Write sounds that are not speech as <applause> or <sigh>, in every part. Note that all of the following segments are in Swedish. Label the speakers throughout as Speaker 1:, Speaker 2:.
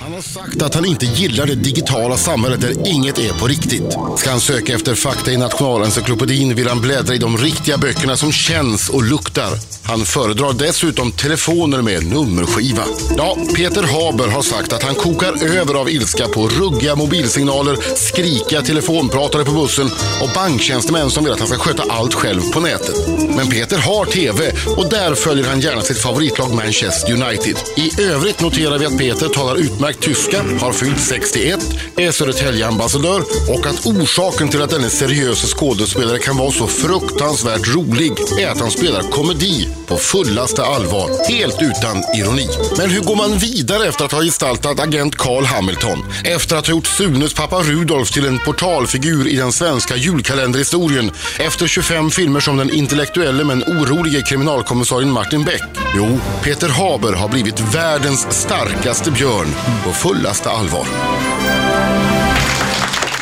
Speaker 1: Han har sagt att han inte gillar det digitala samhället där inget är på riktigt. Ska han söka efter fakta i Nationalencyklopedin vill han bläddra i de riktiga böckerna som känns och luktar. Han föredrar dessutom telefoner med nummerskiva. Ja, Peter Haber har sagt att han kokar över av ilska på ruggiga mobilsignaler, skrikiga telefonpratare på bussen och banktjänstemän som vill att han ska sköta allt själv på nätet. Men Peter har TV och där följer han gärna sitt favoritlag Manchester United. I övrigt noterar vi att Peter talar utmärkt tyska, har fyllt 61, är Södertäljeambassadör och att orsaken till att denne seriösa skådespelare kan vara så fruktansvärt rolig är att han spelar komedi på fullaste allvar, helt utan ironi. Men hur går man vidare efter att ha gestaltat agent Carl Hamilton? Efter att ha gjort Sunes pappa Rudolf till en portalfigur i den svenska julkalenderhistorien? Efter 25 filmer som den intellektuelle men orolige kriminalkommissarien Martin Beck? Jo, Peter Haber har blivit världens starkaste björn på fullaste allvar.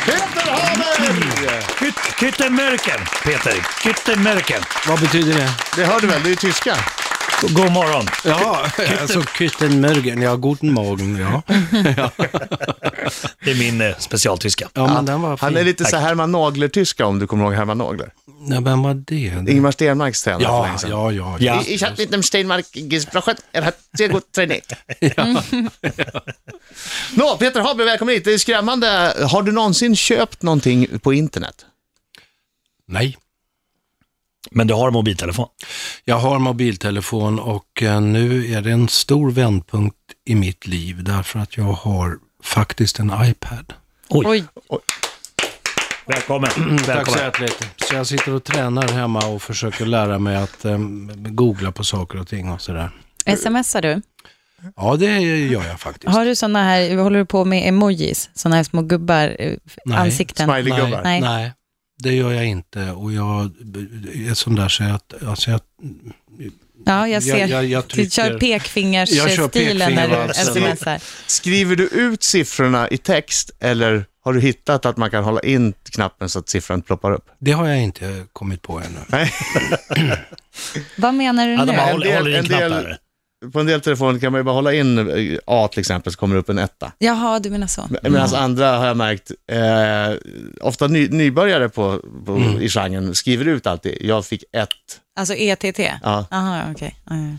Speaker 2: Peter Haber!
Speaker 3: Küt- Küttemörken, Peter. Küttemörken.
Speaker 4: Vad betyder det?
Speaker 2: Det hör du väl, det är tyska.
Speaker 3: God- God morgon.
Speaker 4: Ja, alltså Küsten Mörgen, ja, Guten Morgen, <laughs> ja.
Speaker 3: Det är min eh, specialtyska.
Speaker 4: Ja, men den var fin.
Speaker 2: Han är lite så här Herman Nagler-tyska om du kommer ihåg Herman Nagler.
Speaker 4: Ja, vem var det?
Speaker 2: Ingmar Stenmarks tränare för
Speaker 4: Ja,
Speaker 2: länge sedan.
Speaker 4: ja, ja.
Speaker 3: Ja.
Speaker 5: Ich habe mit dem Steinmark gesprochen, er hat sehr gut
Speaker 4: <laughs>
Speaker 5: trainiert.
Speaker 2: Nå, Peter Haber, välkommen hit. Det är skrämmande. Har du någonsin köpt någonting på internet?
Speaker 4: Nej.
Speaker 3: Men du har mobiltelefon.
Speaker 4: Jag har mobiltelefon och eh, nu är det en stor vändpunkt i mitt liv därför att jag har faktiskt en iPad.
Speaker 3: Oj.
Speaker 5: Oj.
Speaker 3: Välkommen.
Speaker 4: Tack så
Speaker 3: Välkommen.
Speaker 4: hjärtligt. Så jag sitter och tränar hemma och försöker lära mig att eh, googla på saker och ting och sådär.
Speaker 6: Smsar du?
Speaker 4: Ja, det gör jag faktiskt.
Speaker 6: Har du såna här, håller du på med emojis? Såna här små gubbar, eh,
Speaker 4: Nej.
Speaker 6: ansikten?
Speaker 2: Smileygubbar.
Speaker 4: Nej,
Speaker 6: Nej.
Speaker 4: nej, det gör jag inte. Och jag är sån där så att, alltså jag,
Speaker 6: Ja, jag ser.
Speaker 4: jag, jag, jag
Speaker 6: du kör
Speaker 4: trycker... Jag kör
Speaker 6: pekfingersstilen när
Speaker 4: pekfinger,
Speaker 6: du
Speaker 4: alltså.
Speaker 6: smsar.
Speaker 2: Skriver du ut siffrorna i text eller har du hittat att man kan hålla in knappen så att siffran ploppar upp?
Speaker 4: Det har jag inte kommit på ännu.
Speaker 6: Vad menar du
Speaker 3: Ja,
Speaker 6: nu?
Speaker 3: de har- håller,
Speaker 2: del-
Speaker 3: håller i en
Speaker 2: en
Speaker 3: knapp
Speaker 2: del-
Speaker 3: här.
Speaker 2: På en del telefoner kan man ju bara hålla in eh, A till exempel så kommer det upp en etta.
Speaker 6: Jaha, du menar så.
Speaker 2: Medan alltså andra har jag märkt, eh, ofta ny, nybörjare på, på, i genren skriver ut alltid, jag fick ett.
Speaker 6: Alltså ETT?
Speaker 2: Ja.
Speaker 6: Jaha, okej. Ja, ja.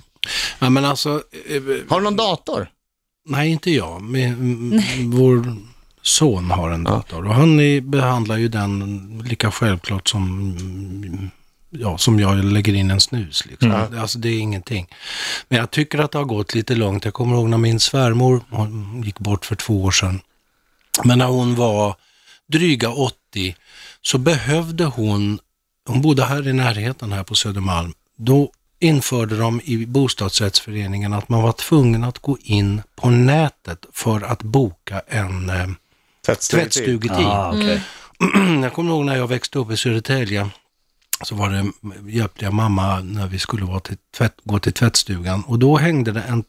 Speaker 4: Ja, men alltså, eh,
Speaker 2: Har du någon dator?
Speaker 4: nej inte jag. Men, mm, vår son har en dator och han är, behandlar ju den lika självklart som, mm, ja, som jag lägger in en snus. Liksom. Alltså det är ingenting. Men jag tycker att det har gått lite långt. Jag kommer ihåg när min svärmor, hon gick bort för två år sedan, Men när hon var dryga 80 så behövde hon, hon bodde här i närheten här på Södermalm, då införde de i bostadsrättsföreningen att man var tvungen att gå in på nätet för att boka en eh, tvättstugetid.
Speaker 3: Ah, okej.
Speaker 4: <clears throat> Jag kommer ihåg när jag växte upp i Södertälje så var det, hjälpte jag mamma när vi skulle vara till tvätt, gå till tvättstugan och då hängde det en t-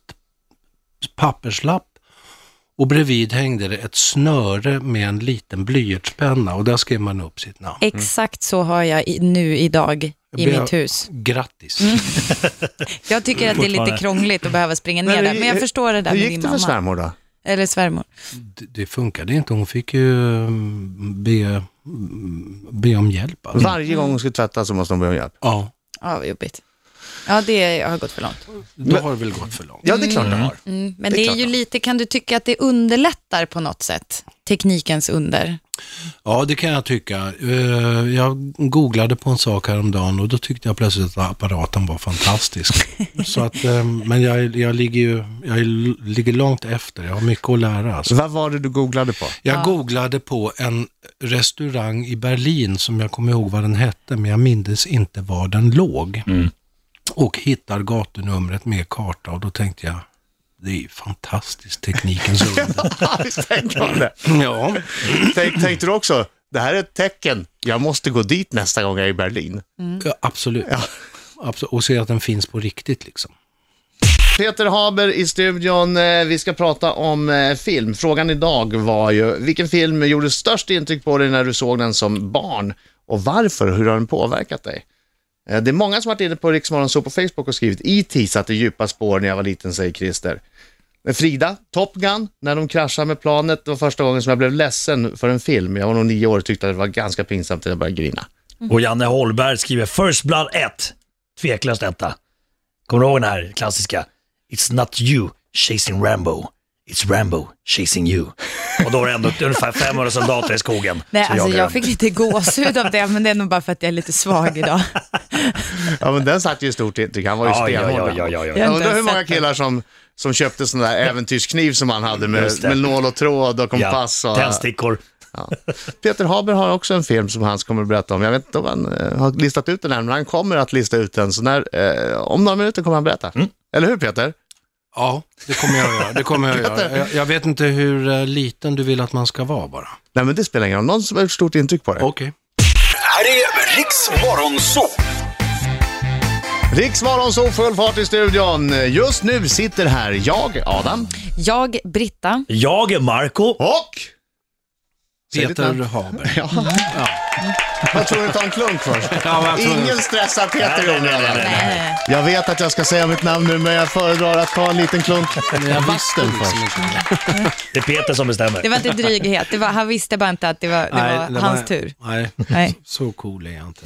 Speaker 4: papperslapp och bredvid hängde det ett snöre med en liten blyertspenna och där skrev man upp sitt namn.
Speaker 6: Exakt så har jag i, nu idag i
Speaker 4: Bea-
Speaker 6: mitt hus.
Speaker 4: Grattis!
Speaker 6: Jag tycker att det är lite
Speaker 3: Fortfarande.
Speaker 6: krångligt att behöva springa ner där, men jag förstår det där
Speaker 2: Hur
Speaker 6: med
Speaker 2: gick
Speaker 6: din
Speaker 2: det för
Speaker 6: mamma. Mm.
Speaker 2: svärmor då?
Speaker 6: Eller svärmor.
Speaker 4: Det, det funkade inte, hon fick ju mm, be, mm, be om hjälp. Alltså.
Speaker 2: Varje gång hon skulle tvätta så måste hon be om hjälp.
Speaker 4: Ja,
Speaker 6: Ja, vad jobbigt. Ja, det har gått för långt.
Speaker 4: då har det väl gått för långt.
Speaker 2: Ja, det är klart hon har.
Speaker 6: Mm, men det är, ju lite, kan du tycka att det underlättar på något sätt? Teknikens under.
Speaker 4: Ja, det kan jag tycka. Eh, Jag googlade på en sak häromdagen och då tyckte jag plötsligt att apparaten var fantastisk. Så att, eh, men jag, jag, ligger ju, jag är- ligger långt efter, jag har mycket att lära. Alltså.
Speaker 2: Vad var det du googlade <laughs> på?
Speaker 4: Jag googlade på en restaurang i Berlin som jag kommer ihåg vad den hette, men jag mindes inte var den låg. Och hittar gatunumret med karta och då tänkte jag, det är ju fantastiskt teknikens under.
Speaker 2: Tänkte hon det?
Speaker 4: ja.
Speaker 2: Tänk, tänkte du också, det här är ett tecken, jag måste gå dit nästa gång jag är i Berlin.
Speaker 4: Ja, absolut. Abso- och se att den finns på riktigt liksom.
Speaker 2: Peter Haber i studion. Eh, Vi ska prata om eh, film. Frågan idag var ju, vilken film gjorde störst intryck på dig när du såg den som barn? Och varför? Hur har den påverkat dig? Eh, Det är många som varit inne på Riksmorgon så på Facebook och skrivit E.T. satte djupa spår när jag var liten, säger Christer. Men Frida, Top Gun, när de kraschar med planet, det var första gången som jag blev ledsen för en film. Jag var nog nio år och tyckte att det var ganska pinsamt att jag började grina.
Speaker 3: Och Janne Holberg skriver First Blood 1. Tveklöst detta. Kommer du ihåg den här klassiska? It's not you chasing Rambo. It's Rambo chasing you. Och då var det ändå ungefär 500 soldater i skogen.
Speaker 6: Nej,
Speaker 3: som
Speaker 6: alltså
Speaker 3: jagar
Speaker 6: jag
Speaker 3: den.
Speaker 6: fick lite gåshud av det, men det är nog bara för att jag är lite svag idag.
Speaker 2: Ja, men den satt ju i stort intryck. Han var ju
Speaker 3: Ja, ja,
Speaker 2: stenhård.
Speaker 3: ja, ja, ja, ja.
Speaker 6: Jag har
Speaker 2: Jag
Speaker 6: inte
Speaker 2: undrar hur
Speaker 6: ens
Speaker 2: många
Speaker 6: sett den.
Speaker 2: killar som, som köpte sån där äventyrskniv som han hade med,
Speaker 3: Just det.
Speaker 2: med nål och tråd och kompass.
Speaker 3: Ja,
Speaker 2: Och,
Speaker 3: tändstickor.
Speaker 2: Peter Haber har också en film som han kommer att berätta om. Jag vet inte om han eh, har listat ut den än, men han kommer att lista ut den. Så när, eh, om några minuter kommer han berätta.
Speaker 6: Mm.
Speaker 2: Eller hur Peter?
Speaker 4: Ja, det kommer jag att göra. Det kommer jag, att <laughs> göra. jag, jag vet inte hur eh, liten du vill att man ska vara bara.
Speaker 2: Nej, men det spelar ingen roll. Någon som har gjort stort intryck på det.
Speaker 4: Okej.
Speaker 7: Här är Riks Morgonzoo!
Speaker 2: Riksmorgon så full fart i studion. Just nu sitter här jag, Adam,
Speaker 6: <laughs> Jag, Britta,
Speaker 3: Jag är Marco.
Speaker 2: och... Säg ditt
Speaker 4: Peter
Speaker 2: namn.
Speaker 4: Haber.
Speaker 2: Ja. Jag tror du tar en klunk först.
Speaker 4: Ja, men jag tror-
Speaker 2: Ingen stressar Peter i onödan.
Speaker 6: nej.
Speaker 2: Jag vet att jag ska säga mitt namn nu, men jag föredrar att ta en liten klunk vatten liksom. först.
Speaker 3: Det är Peter som bestämmer.
Speaker 6: det var inte dryghet. Det var, han visste bara inte att det var, det var
Speaker 4: det
Speaker 6: hans tur.
Speaker 4: <laughs> Nej,
Speaker 6: Nej.
Speaker 4: så cool är jag inte.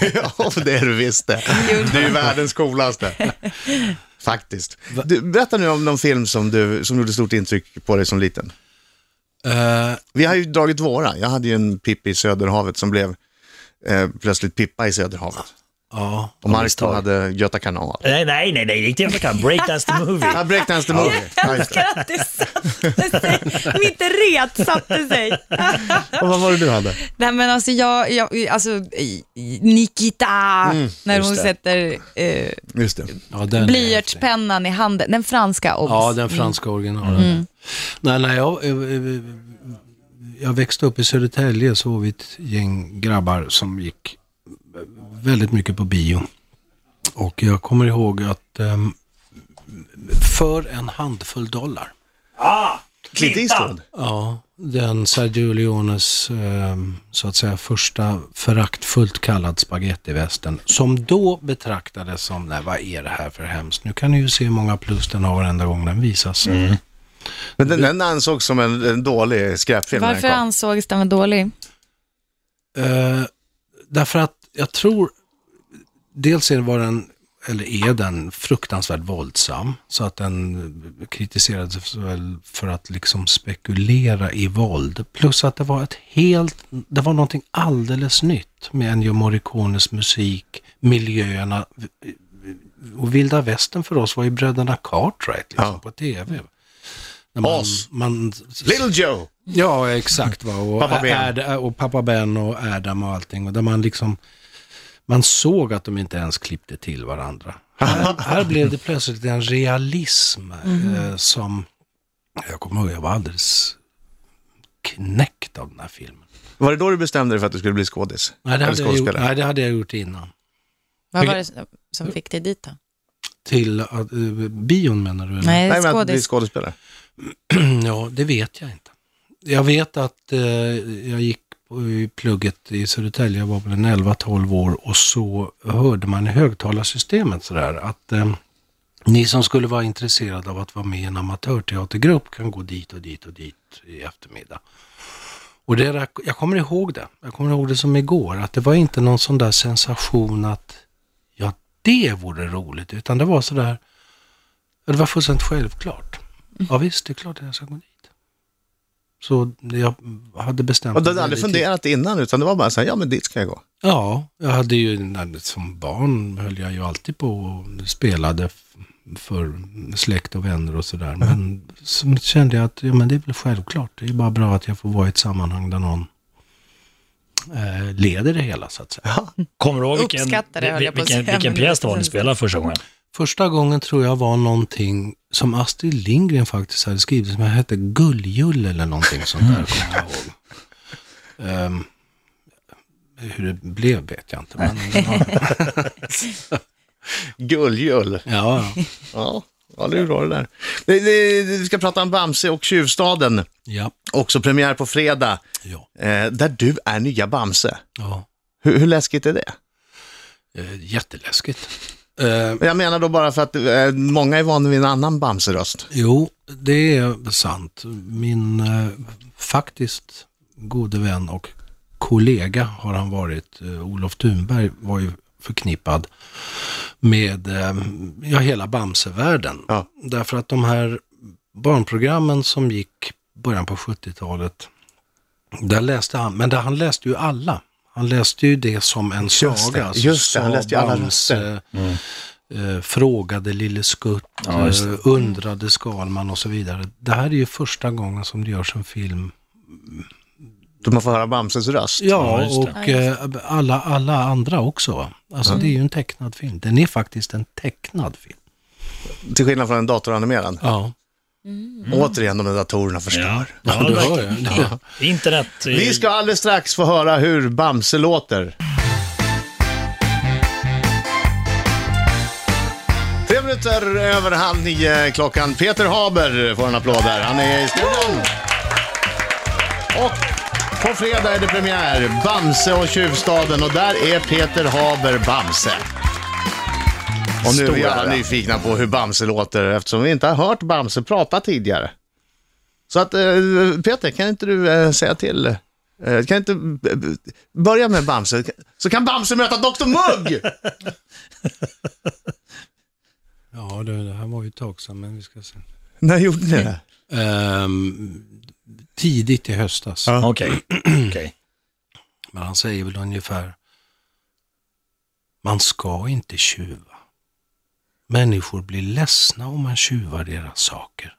Speaker 4: <laughs>
Speaker 2: Ja, det är du visst det. Du är världens coolaste. Faktiskt. Du, berätta nu om någon film som, du, som gjorde stort intryck på dig som liten.
Speaker 4: Eh,
Speaker 2: Vi har ju dragit våra. Jag hade ju en Pippi i Söderhavet som blev eh, plötsligt Pippa i Söderhavet.
Speaker 4: ja,
Speaker 2: Och Marko hade Göta kanal.
Speaker 3: Nej, nej, nej, nej, inte jag kan. Breakdance the movie. <laughs>
Speaker 2: Ja, Breakdance the movie. Ja, just det.
Speaker 6: att det satte sig. Mitt ret satte sig. <laughs>
Speaker 2: Och vad var det du hade?
Speaker 6: Nej men alltså jag, jag alltså i- i- Nikita, när hon
Speaker 3: det.
Speaker 6: sätter eh,
Speaker 2: Just det.
Speaker 4: ja, den är häftig.
Speaker 6: blyertspennan i handen, den franska obs.
Speaker 4: Ja, den franska originalen. Nej, nej, jag, eh, eh, jag växte upp i Södertälje så var vi ett gäng grabbar som gick eh, väldigt mycket på bio. Och jag kommer ihåg att ehm, för en handfull dollar,
Speaker 3: Ah,
Speaker 2: Clint Eastwood.
Speaker 4: ja, den Sergio Leones ehm, så att säga första föraktfullt kallad spagettivästern, som då betraktades som, nej vad är det här för hemskt? Nu kan ni ju se hur många plus den har varenda gång den visas.
Speaker 2: Men den, den ansågs som en, en dålig skräpfilm när den
Speaker 6: Varför
Speaker 2: kom.
Speaker 6: ansågs den vara dålig?
Speaker 4: Eh, därför att jag tror, dels är var den, eller är den fruktansvärt våldsam. Så att den kritiserades väl för att liksom spekulera i våld. Plus att det var ett helt, det var någonting alldeles nytt med Ennio Morricones musik, miljöerna. Och vilda västern för oss var ju bröderna Cartwright liksom,
Speaker 2: Ja.
Speaker 4: på tv. När man-
Speaker 2: Oz.
Speaker 4: man
Speaker 2: Little Joe.
Speaker 4: Ja, exakt. Va? Och,
Speaker 2: Pappa
Speaker 4: pappa
Speaker 2: Ben.
Speaker 4: Ad, och pappa Ben och Adam och allting. Och där man liksom, man såg att de inte ens klippte till varandra. Här,
Speaker 2: <laughs>
Speaker 4: här blev det plötsligt en realism eh, som, jag kommer ihåg, jag var alldeles knäckt av den här filmen.
Speaker 2: Var det då du bestämde dig för att du skulle bli skådis?
Speaker 4: Nej, det
Speaker 2: Eller
Speaker 4: hade jag gjort,
Speaker 2: skådespelare?
Speaker 4: nej, det hade jag gjort innan.
Speaker 6: Vad var det som- som fick dig dit då?
Speaker 4: Mm. Till uh, bion menar du? eller?
Speaker 6: Nej,
Speaker 2: Nej, men att bli
Speaker 6: skådis.
Speaker 2: skådespelare.
Speaker 4: <clears throat> Ja, det vet jag inte. Jag vet att eh, jag gick på- i plugget i Södertälje, jag var väl en 11-12 år och så hörde man i högtalarsystemet sådär att eh, ni som skulle vara intresserade av att vara med i en amatörteatergrupp kan gå dit och dit och dit i eftermiddag. Och det, rak- jag kommer ihåg det. Jag kommer ihåg det som igår, att det var inte någon sån där sensation att ja, det vore roligt, utan det var sådär, ja, det var fullständigt självklart. Ja visst, det är klart att jag ska gå dit. Så jag hade bestämt
Speaker 2: Och du
Speaker 4: mig
Speaker 2: hade aldrig
Speaker 4: väldigt-
Speaker 2: funderat innan, utan det var bara så här, ja men dit ska jag gå.
Speaker 4: Ja, jag hade ju, när- som barn höll jag ju alltid på och spelade f- för släkt och vänner och sådär. Men så kände jag att, ja men det är väl självklart. Det är ju bara bra att jag får vara i ett sammanhang där någon eh, leder det hela så att säga.
Speaker 3: Kommer du ihåg vilken,
Speaker 6: Uppskattar det, höll jag på att
Speaker 3: vilken,
Speaker 6: säga,
Speaker 3: vilken
Speaker 6: men-
Speaker 3: pjäs det var ni spelade första gången?
Speaker 4: Första gången tror jag var någonting som Astrid Lindgren faktiskt hade skrivit, som hette Gulljull eller någonting sånt där, kommer jag ihåg. Ehm, hur det blev vet jag inte, men
Speaker 2: Gulljull.
Speaker 4: ja, ja.
Speaker 2: Ja, ja det är bra det där. Det- det- det- Vi ska prata om Bamse och Tjuvstaden.
Speaker 4: ja.
Speaker 2: Också premiär på fredag,
Speaker 4: ja.
Speaker 2: eh, där du är nya Bamse.
Speaker 4: ja.
Speaker 2: Hur, hur läskigt är det?
Speaker 4: Eh, Jätteläskigt. Eh,
Speaker 2: Jag menar då bara för att eh, många är vana vid en annan Bamseröst.
Speaker 4: Jo, det är sant. Min eh, faktiskt gode vän och kollega har han varit. Eh, Olof Thunberg var ju förknippad med eh, ja, hela Bamsevärlden.
Speaker 2: Ja.
Speaker 4: Därför att de här barnprogrammen som gick början på 70-talet, där läste han, men där han läste ju alla. Han läste ju det som en saga.
Speaker 2: Just det,
Speaker 4: alltså
Speaker 2: just det, han läste ju alla
Speaker 4: Bamse,
Speaker 2: röster. Mm.
Speaker 4: eh, frågade Lille Skutt,
Speaker 3: Ja, just
Speaker 4: eh, undrade Skalman och så vidare. Det här är ju första gången som det görs en film.
Speaker 2: Då man får höra Bamses röst.
Speaker 4: Ja,
Speaker 3: just det.
Speaker 4: och eh, alla, alla andra också. va? Alltså
Speaker 2: Mm.
Speaker 4: det är ju en tecknad film. Den är faktiskt en tecknad film.
Speaker 2: Till skillnad från en datoranimerad.
Speaker 4: Ja, Mm.
Speaker 2: Återigen, de där datorerna förstör.
Speaker 3: Ja,
Speaker 4: ja
Speaker 3: det
Speaker 4: du
Speaker 3: verkar-
Speaker 4: hör ju. Ja.
Speaker 3: Internet. eh,
Speaker 2: Vi ska alldeles strax få höra hur Bamse låter. Tre minuter över halv nio klockan. Peter Haber får en applåd där. Han är i studion. Och på fredag är det premiär. Bamse och Tjuvstaden och där är Peter Haber Bamse. Och nu är vi alla nyfikna på hur Bamse låter eftersom vi inte har hört Bamse prata tidigare. Så att eh, Peter, kan inte du eh, säga till? eh, Kan inte b- b- börja med Bamse? Så kan Bamse möta Dr Mugg!
Speaker 4: ja det, det här var ju ett tag sedan, men vi ska se.
Speaker 2: <laughs> När gjorde ni det?
Speaker 4: Ehm, tidigt i höstas.
Speaker 3: Okej, <clears throat> okej.
Speaker 4: Men han säger väl ungefär, man ska inte tjuva. Människor blir ledsna om man tjuvar deras saker.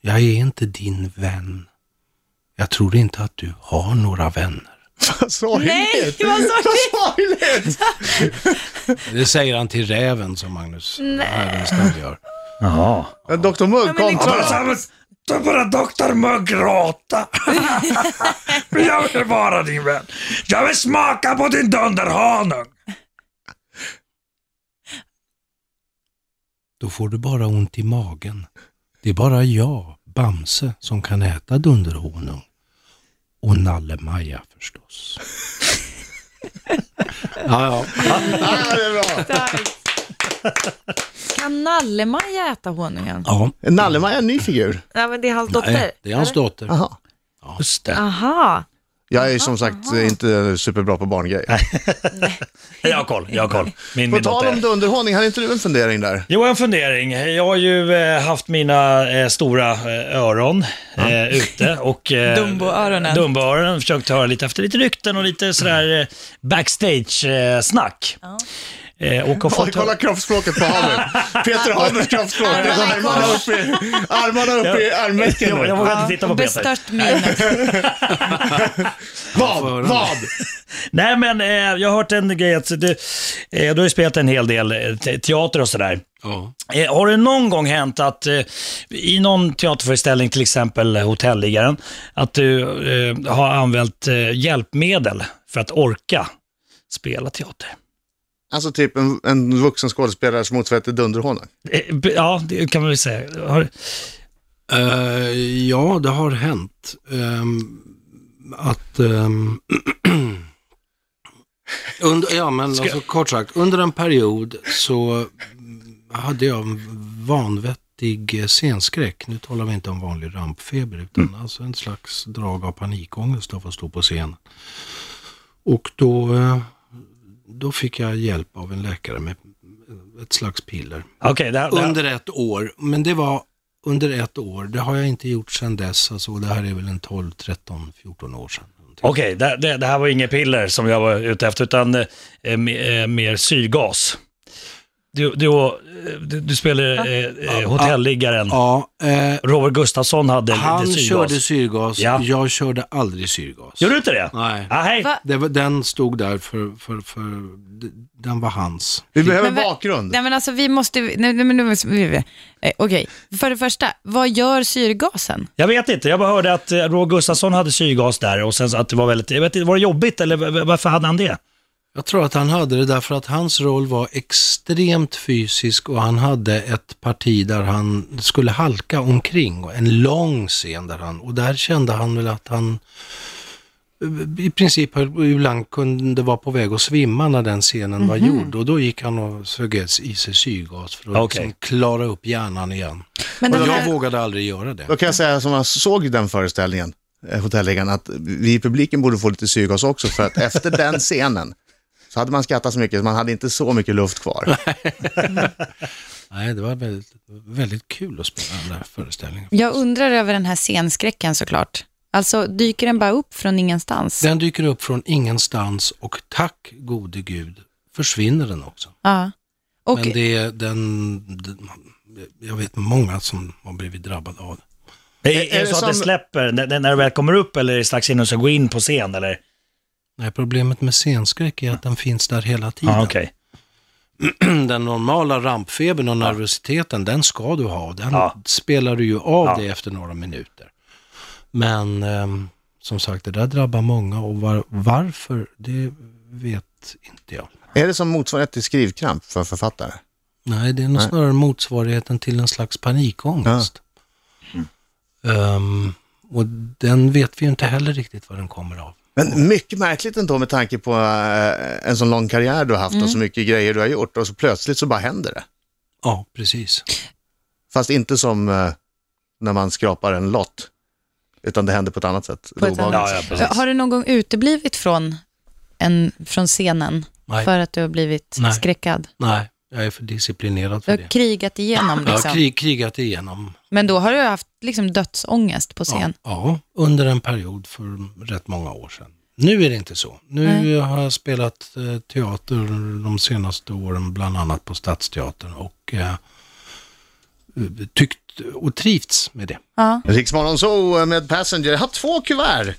Speaker 4: Jag är inte din vän. Jag tror inte att du har några vänner.
Speaker 2: Vad sorgligt!
Speaker 6: Nej, vad sorgligt.
Speaker 2: sorgligt!
Speaker 4: Det säger han till räven som Magnus Härenstam gör.
Speaker 3: Jaha.
Speaker 2: Men Dr Mugg
Speaker 6: liksom-
Speaker 2: kontra.
Speaker 3: Ta bara doktor må gråta. Men <laughs> jag vill vara din vän. Jag vill smaka på din dunderhanung.
Speaker 4: Då får du bara ont i magen. Det är bara jag, Bamse, som kan äta dunderhonung. Och Nalle-Maja förstås. <laughs> ja, ja.
Speaker 2: Ja, det är bra.
Speaker 6: Kan Nalle-Maja äta honungen?
Speaker 4: ja.
Speaker 2: Nallema är en ny figur.
Speaker 8: Nej, men det är hans dotter.
Speaker 4: Nej, det är hans dotter.
Speaker 2: Aha.
Speaker 3: Just det.
Speaker 8: Aha.
Speaker 2: Jag är som sagt inte superbra på barngrejer.
Speaker 3: Jag har koll, jag har koll. Min,
Speaker 2: På
Speaker 3: min
Speaker 2: tal
Speaker 3: dotter.
Speaker 2: om dunderhonung, hade inte du en fundering där?
Speaker 3: Jo, en fundering. Jag har ju eh, haft mina eh, stora eh, öron eh,
Speaker 2: Mm.
Speaker 3: ute och... Eh,
Speaker 6: Dumboöronen.
Speaker 3: Dumboöronen. Försökt höra lite efter lite rykten och lite
Speaker 2: Mm.
Speaker 3: sådär eh, backstage-snack. Eh, och har
Speaker 2: Oj,
Speaker 3: fått...
Speaker 2: kolla kroppsspråket på Haber. Peter Habers kroppsspråk. Det är som Armarna upp i, armarna upp i armvecken.
Speaker 3: jag, jag
Speaker 2: nu.
Speaker 3: vågar inte titta på Peter.
Speaker 6: Bestört minnet.
Speaker 2: Vad? Vad?
Speaker 3: Nej, men eh, jag har hört en grej att du, eh, du har ju spelat en hel del eh, te- teater och sådär.
Speaker 4: Ja.
Speaker 3: Eh, Har det någon gång hänt att eh, i någon teaterföreställning, till exempel Hotelliggaren, att du eh, har använt eh, hjälpmedel för att orka spela teater?
Speaker 2: Alltså typ en, en vuxen skådespelare som motsvarighet till dunderhonung.
Speaker 3: Eh, b- Ja, det kan man väl säga. Har,
Speaker 4: Eh, ja, det har hänt. ehm, att... ehm, <clears throat> under, ja, men alltså, kort sagt, under en period så hade jag en vanvettig eh, scenskräck. Nu talar vi inte om vanlig rampfeber, utan alltså en slags drag av panikångest av att stå på scen. Och då, eh, då fick jag hjälp av en läkare med ett slags piller.
Speaker 3: Okej, det här, det här,
Speaker 4: Under ett år, men det var under ett år. Det har jag inte gjort sedan dess. Alltså, och det här är väl en 12, 13, 14 år sedan.
Speaker 3: okej, det, det, det här var inget piller som jag var ute efter, utan eh, me- eh, mer syrgas. Du, du, eh, du, du spelar eh, eh, Hotelliggaren.
Speaker 4: Ja, eh,
Speaker 3: Robert Gustafsson hade
Speaker 4: han
Speaker 3: lite syrgas.
Speaker 4: körde syrgas.
Speaker 3: Ja.
Speaker 4: Jag körde aldrig syrgas.
Speaker 3: Gör du inte det?
Speaker 4: Nej.
Speaker 3: Ah, hej.
Speaker 6: Va?
Speaker 4: Det var, den stod där för, för, för, d- den var hans.
Speaker 2: Vi behöver
Speaker 6: Men vad-
Speaker 2: bakgrund.
Speaker 6: Nej men alltså vi måste, nej, nej, men nu måste vi, vi- eh, okej, för det första, vad gör syrgasen?
Speaker 3: Jag vet inte, jag bara hörde att eh, Roger Gustafsson hade syrgas där och sen så att det var väldigt, jag vet inte, var det jobbigt eller v- varför hade han det?
Speaker 4: Jag tror att han hade det därför att hans roll var extremt fysisk och han hade ett parti där han skulle halka omkring och en lång scen där han, och där kände han väl att han eh, i princip höll- ibland kunde vara på väg att svimma när den scenen var
Speaker 6: Mhm.
Speaker 4: gjord och då gick han och sög i sig syrgas för att
Speaker 3: Okej.
Speaker 4: liksom klara upp hjärnan igen.
Speaker 6: Men
Speaker 4: Och
Speaker 6: den
Speaker 4: jag
Speaker 6: här,
Speaker 4: vågade aldrig göra det.
Speaker 2: Då kan jag säga som jag såg den föreställningen, eh, hotelläggaren, att vi i publiken borde få lite syrgas också för att efter den scenen så hade man skrattat så mycket så man hade inte så mycket luft kvar.
Speaker 4: Nej, det var väldigt, väldigt kul att spela den där föreställningen.
Speaker 6: jag undrar över den här scenskräcken såklart. Alltså, dyker den bara upp från ingenstans?
Speaker 4: Den dyker upp från ingenstans och tack gode gud försvinner den också.
Speaker 6: Ja. Och,
Speaker 4: Men det är den, den, jag vet många som har blivit drabbade av det.
Speaker 3: Är, är,
Speaker 2: är
Speaker 3: det
Speaker 2: det
Speaker 3: så att det
Speaker 2: som-
Speaker 3: släpper när, när det väl kommer upp eller är det strax innan du ska gå in på scen eller?
Speaker 4: Nej, problemet med scenskräck är att den finns där hela tiden.
Speaker 3: Ja, okej.
Speaker 4: Mm, Den normala rampfebern och nervositeten, den ska du ha. Den
Speaker 3: Ja.
Speaker 4: spelar du ju av
Speaker 3: Ja.
Speaker 4: dig efter några minuter. Men ehm, som sagt, det där drabbar många och var, varför, det vet inte jag.
Speaker 2: Är det som motsvarighet till skrivkramp för författare?
Speaker 4: Nej, det är nog snarare motsvarigheten till en slags panikångest. Ehm, och den vet vi ju inte heller riktigt vad den kommer av.
Speaker 2: Men mycket märkligt ändå med tanke på eh, en sån lång karriär du har haft
Speaker 6: Mm.
Speaker 2: och så mycket grejer du har gjort och så plötsligt så bara händer det.
Speaker 4: Ja, precis.
Speaker 2: Fast inte som eh, när man skrapar en lott, utan det händer på ett annat sätt.
Speaker 6: På ett
Speaker 2: Det är obehagligt.
Speaker 3: Ja, ja, precis.
Speaker 6: har du någon gång uteblivit från, en, från scenen
Speaker 4: Nej.
Speaker 6: för att du har blivit
Speaker 4: Nej.
Speaker 6: skräckad?
Speaker 4: Nej, jag är för disciplinerad
Speaker 6: Du
Speaker 4: för
Speaker 6: har
Speaker 4: det.
Speaker 6: krigat igenom
Speaker 4: Jag
Speaker 6: liksom.
Speaker 4: har krig, krigat igenom.
Speaker 6: Men då har du haft liksom, dödsångest på
Speaker 4: Ja,
Speaker 6: scen.
Speaker 4: ja, under en period för rätt många år sedan. Nu är det inte så. Nu
Speaker 6: Nej.
Speaker 4: har jag spelat eh, teater de senaste åren, bland annat på Stadsteatern och eh, tyckt och trivts med det.
Speaker 6: Ja.
Speaker 2: Riksmorgon så med Passenger. Jag har två kuvert.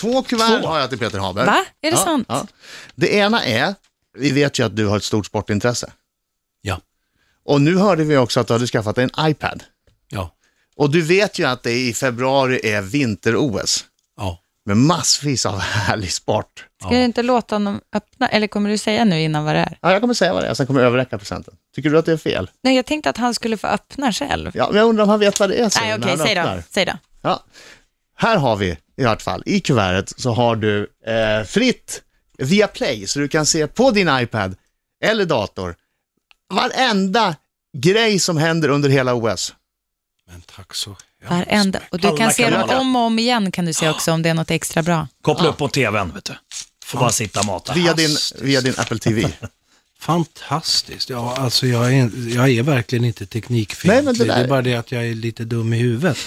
Speaker 2: Två kuvert har jag till Peter Haber.
Speaker 6: Va? Är det sant?
Speaker 2: Det ena är, vi vet ju att du har ett stort sportintresse.
Speaker 4: Ja,
Speaker 2: Och nu hörde vi också att du hade skaffat dig en iPad.
Speaker 4: ja,
Speaker 2: Och du vet ju att det i februari är vinter-OS
Speaker 4: ja.
Speaker 2: med massvis av <laughs> härlig sport.
Speaker 6: Ska du inte låta honom öppna, eller kommer du säga nu innan vad det är?
Speaker 2: Ja, jag kommer säga vad det är, sen kommer jag överräcka presenten. Tycker du att det är fel?
Speaker 6: Nej, jag tänkte att han skulle få öppna själv.
Speaker 2: Ja, men jag undrar om han vet vad det är. säger
Speaker 6: Nej,
Speaker 2: han,
Speaker 6: okej,
Speaker 2: när han
Speaker 6: säg
Speaker 2: öppnar.
Speaker 6: då. Säg då.
Speaker 2: Ja. Här har vi i vart fall, i kuvertet så har du eh, fritt via Play så du kan se på din iPad eller dator varenda grej som händer under hela OS.
Speaker 4: Men tack så hemskt
Speaker 6: Varenda. Och du
Speaker 3: Alla
Speaker 6: kan se dem
Speaker 3: kanaler.
Speaker 6: om och om igen kan du se också om det är något extra bra.
Speaker 3: Koppla upp mot tvn, vet du. Får bara sitta och mata.
Speaker 2: Via din, via din Apple TV.
Speaker 4: Fantastiskt. Ja, alltså jag är, jag är verkligen inte
Speaker 2: Nej,
Speaker 4: teknikfientlig.
Speaker 2: men det
Speaker 4: det,
Speaker 2: där-
Speaker 4: är bara det att jag är lite dum i huvudet.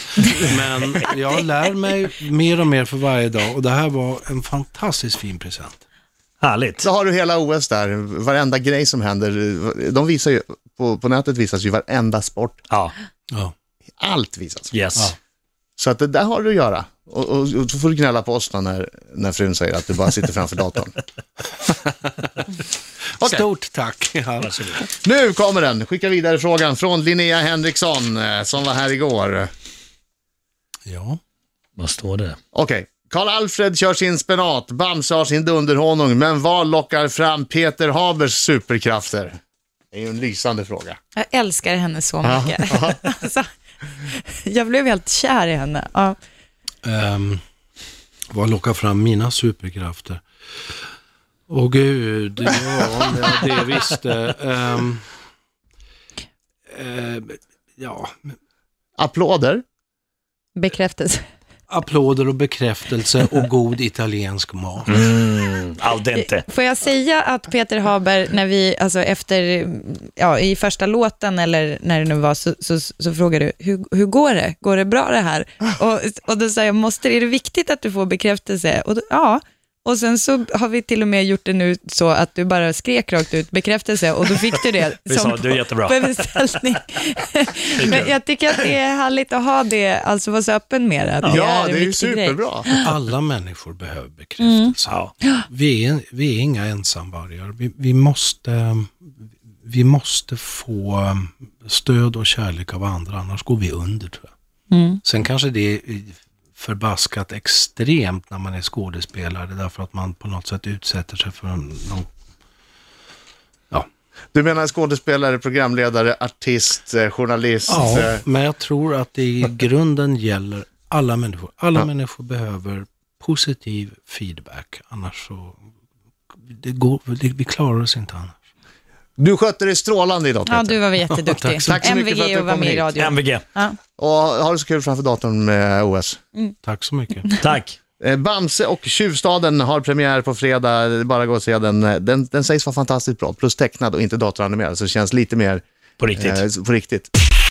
Speaker 4: Men jag lär mig mer och mer för varje dag och det här var en fantastiskt fin present.
Speaker 3: Härligt.
Speaker 2: Så har du hela OS där, varenda grej som händer. De visar ju, på, på nätet visas ju varenda sport.
Speaker 3: Ja,
Speaker 4: Ja,
Speaker 2: Allt visas.
Speaker 3: yes.
Speaker 2: Så att det där har du att göra. Och, och, och så får du gnälla på oss då när, när frun säger att du bara sitter framför <laughs> datorn. Okej. <laughs>
Speaker 4: Stort tack. Ja.
Speaker 3: Varsågod.
Speaker 2: Nu kommer den! Skicka vidare frågan från Linnea Henriksson eh, som var här igår.
Speaker 4: Ja.
Speaker 3: Vad står det?
Speaker 2: Okej. Karl-Alfred kör sin spenat, Bamse har sin dunderhonung, men vad lockar fram Peter Habers superkrafter? Det är ju en lysande fråga.
Speaker 6: Jag älskar henne så mycket. <laughs> Alltså, jag blev helt kär i henne. Ja.
Speaker 4: Ehm, vad lockar fram mina superkrafter? Åh gud, ja, om jag det visste. Ehm, ehm, ja,
Speaker 2: Applåder.
Speaker 6: Bekräftelse.
Speaker 4: applåder och bekräftelse och god italiensk mat.
Speaker 3: Al dente.
Speaker 6: Eh, Får jag säga att Peter Haber, när vi, alltså efter, ja, i första låten eller när det nu var, så, så, så frågade du, hur, hur går det? Går det bra
Speaker 3: <laughs>
Speaker 6: det här? Och, och då sa jag, måste, är det viktigt att du får bekräftelse? Och då, ja. Och sen så har vi till och med gjort det nu så att du bara skrek rakt ut bekräftelse och då fick du det
Speaker 3: <laughs> Vi sa, "Du är jättebra."
Speaker 6: på en
Speaker 3: <laughs>
Speaker 6: beställning. Men jag tycker att det är härligt att ha det, alltså vara så öppen med det. att
Speaker 2: Ja,
Speaker 6: en
Speaker 2: det är ju
Speaker 6: viktig grej.
Speaker 2: superbra.
Speaker 4: Alla människor behöver bekräftelse.
Speaker 3: Ja.
Speaker 4: Vi, är, vi är inga ensamvargar. Vi, vi, måste, vi måste få stöd och kärlek av andra, annars går vi under tror jag. Sen kanske det är förbaskat extremt när man är skådespelare, därför att man på något sätt utsätter sig för en- någon... Ja,
Speaker 2: Du menar skådespelare, programledare, artist, eh, journalist.
Speaker 4: ja
Speaker 2: eh,
Speaker 4: men jag tror att det i grunden gäller alla människor. Alla människor behöver positiv feedback. Annars så, det går, det, vi klarar oss inte annars.
Speaker 2: Du skötte dig strålande idag
Speaker 6: Ja,
Speaker 2: Peter.
Speaker 6: du var jätteduktig.
Speaker 4: Tack så
Speaker 2: mycket. Tack så mycket för att
Speaker 6: MVG
Speaker 2: du
Speaker 6: och var
Speaker 2: kom
Speaker 6: med i
Speaker 2: hit.
Speaker 6: radio.
Speaker 3: MVG.
Speaker 6: Ja.
Speaker 2: Och har det så kul framför datorn med OS.
Speaker 4: Tack så mycket.
Speaker 3: Tack.
Speaker 2: Eh, Bamse och Tjuvstaden har premiär på fredag. Det är bara att gå och se den. Eh, den. Den sägs vara fantastiskt bra, plus tecknad och inte datoranimerad, så det känns lite mer
Speaker 3: På riktigt.
Speaker 2: eh, på riktigt.